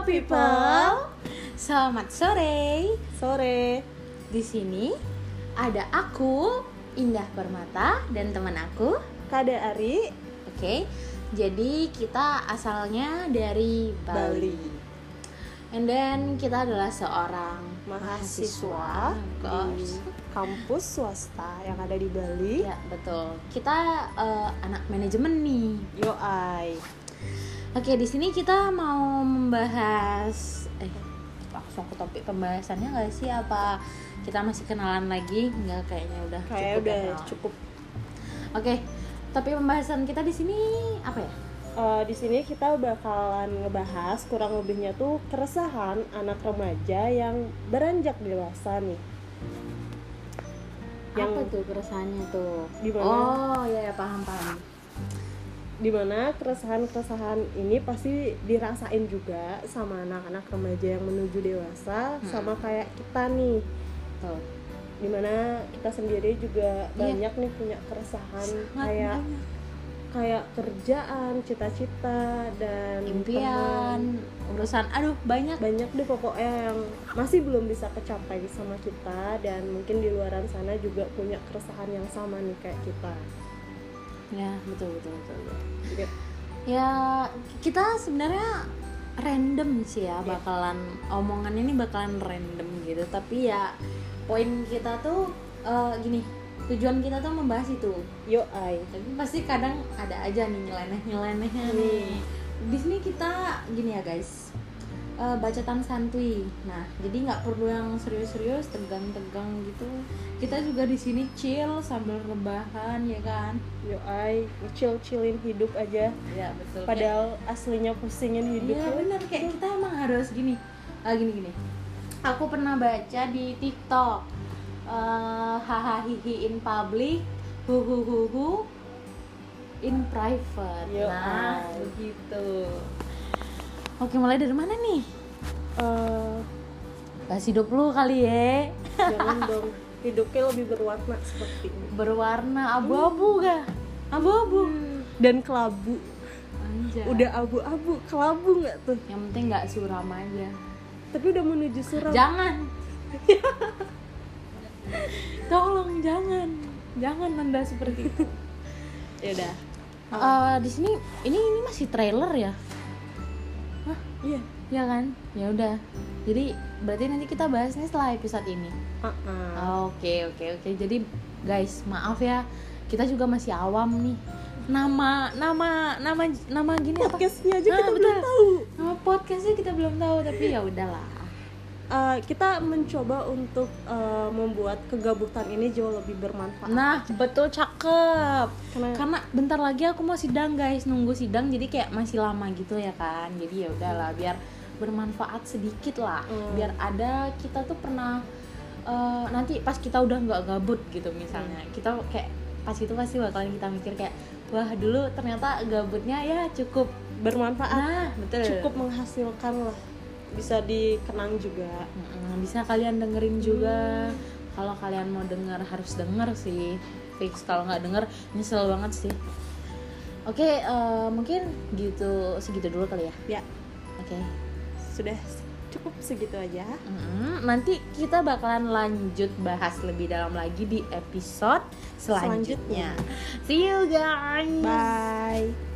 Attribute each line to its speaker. Speaker 1: people.
Speaker 2: Selamat sore.
Speaker 1: Sore.
Speaker 2: Di sini ada aku, Indah Permata dan teman aku.
Speaker 1: Kade Ari
Speaker 2: Oke. Jadi kita asalnya dari Bali.
Speaker 1: Bali.
Speaker 2: And then kita adalah seorang
Speaker 1: Mahasiswa
Speaker 2: Of
Speaker 1: di
Speaker 2: course.
Speaker 1: kampus swasta yang ada di Bali.
Speaker 2: Ya, betul. Kita eh, anak manajemen nih.
Speaker 1: Yoai.
Speaker 2: Oke, di sini kita mau membahas eh langsung ke topik pembahasannya nggak sih apa kita masih kenalan lagi? Nggak kayaknya udah
Speaker 1: Kayak
Speaker 2: cukup ya
Speaker 1: udah
Speaker 2: kenalan.
Speaker 1: cukup.
Speaker 2: Oke, topik pembahasan kita di sini apa ya?
Speaker 1: Eh, di sini kita bakalan ngebahas kurang lebihnya tuh keresahan anak remaja yang beranjak dewasa nih. Yang-
Speaker 2: apa tuh keresahannya tuh?
Speaker 1: Gimana?
Speaker 2: Oh, ya ya paham paham.
Speaker 1: Dimana keresahan-keresahan ini pasti dirasain juga sama anak-anak remaja yang menuju dewasa,
Speaker 2: Hmm.
Speaker 1: sama kayak kita nih.
Speaker 2: Tuh.
Speaker 1: dimana kita sendiri juga
Speaker 2: Iya.
Speaker 1: banyak nih punya keresahan
Speaker 2: Sangat
Speaker 1: kayak
Speaker 2: banyak.
Speaker 1: kayak kerjaan cita-cita dan
Speaker 2: impian, urusan aduh banyak.
Speaker 1: teman. banyak deh pokoknya yang masih belum bisa kecapai sama kita dan mungkin di luaran sana juga punya keresahan yang sama nih kayak kita
Speaker 2: Ya, betul betul betul. betul.
Speaker 1: Jadi,
Speaker 2: Ya, kita sebenarnya random sih ya bakalan omongan ini bakalan random gitu, tapi ya poin kita tuh eh, gini, tujuan kita tuh membahas itu.
Speaker 1: yo ai
Speaker 2: Tapi pasti kadang ada aja nih nyeleneh-nyelenehnya nih. Di sini kita gini ya guys. eh, bacotan santuy. Nah, jadi nggak perlu yang serius-serius, tegang-tegang gitu. Kita juga di sini chill sambil rebahan ya kan.
Speaker 1: yo ai chill chillin hidup aja
Speaker 2: Ya, betul.
Speaker 1: padahal aslinya pusingin hidup
Speaker 2: Iya
Speaker 1: tuh.
Speaker 2: benar kayak kita emang harus gini, Ah, gini gini. Aku pernah baca di TikTok, eh haha hihi in public, hu hu hu hu in private.
Speaker 1: Yo, gitu.
Speaker 2: nah,
Speaker 1: ay.
Speaker 2: begitu. Oke mulai dari mana nih?
Speaker 1: Eh,
Speaker 2: Bahas hidup lu kali ya.
Speaker 1: jangan dong hidupnya lebih berwarna seperti ini
Speaker 2: Berwarna
Speaker 1: Hmm.
Speaker 2: abu-abu kan? gak? Abu-abu.
Speaker 1: dan kelabu
Speaker 2: Anjay.
Speaker 1: udah abu-abu kelabu nggak tuh
Speaker 2: Yang penting nggak suram aja.
Speaker 1: tapi udah menuju suram
Speaker 2: Jangan. Tolong jangan. Jangan Anda seperti itu.
Speaker 1: ya udah
Speaker 2: Eh, di sini ini ini masih trailer ya?
Speaker 1: iya
Speaker 2: Ya kan? Ya udah. Jadi berarti nanti kita bahasnya setelah episode ini. Uh-uh.
Speaker 1: Ah-ah.
Speaker 2: Oke, oke, oke. Jadi guys, maaf ya. Kita juga masih awam nih. Nama nama nama nama gini apa?
Speaker 1: Ya, podcastnya aja
Speaker 2: Ah,
Speaker 1: kita
Speaker 2: betul.
Speaker 1: belum tahu
Speaker 2: Nama podcastnya kita belum tahu tapi ya udahlah.
Speaker 1: Eh, kita mencoba untuk eh, membuat kegabutan ini jauh lebih bermanfaat
Speaker 2: Nah, kan- betul cakep.
Speaker 1: Kenapa?
Speaker 2: Karena bentar lagi aku mau sidang, guys. Nunggu sidang jadi kayak masih lama gitu ya kan. Jadi ya udahlah biar bermanfaat sedikit lah.
Speaker 1: Hmm.
Speaker 2: Biar ada kita tuh pernah eh, nanti pas kita udah nggak gabut gitu misalnya. Kita kayak pas itu pasti bakalan kita mikir kayak wah dulu ternyata gabutnya ya cukup.
Speaker 1: bermanfaat
Speaker 2: Nah, betul.
Speaker 1: cukup menghasilkan lah bisa dikenang juga
Speaker 2: Mm-mm, bisa kalian dengerin juga kalau kalian mau denger harus denger sih fix kalau nggak denger nyesel banget sih oke eh, mungkin gitu segitu dulu kali ya
Speaker 1: ya
Speaker 2: oke
Speaker 1: sudah cukup segitu aja
Speaker 2: Mm-mm, nanti kita bakalan lanjut bahas lebih dalam lagi di episode selanjutnya, see you guys
Speaker 1: bye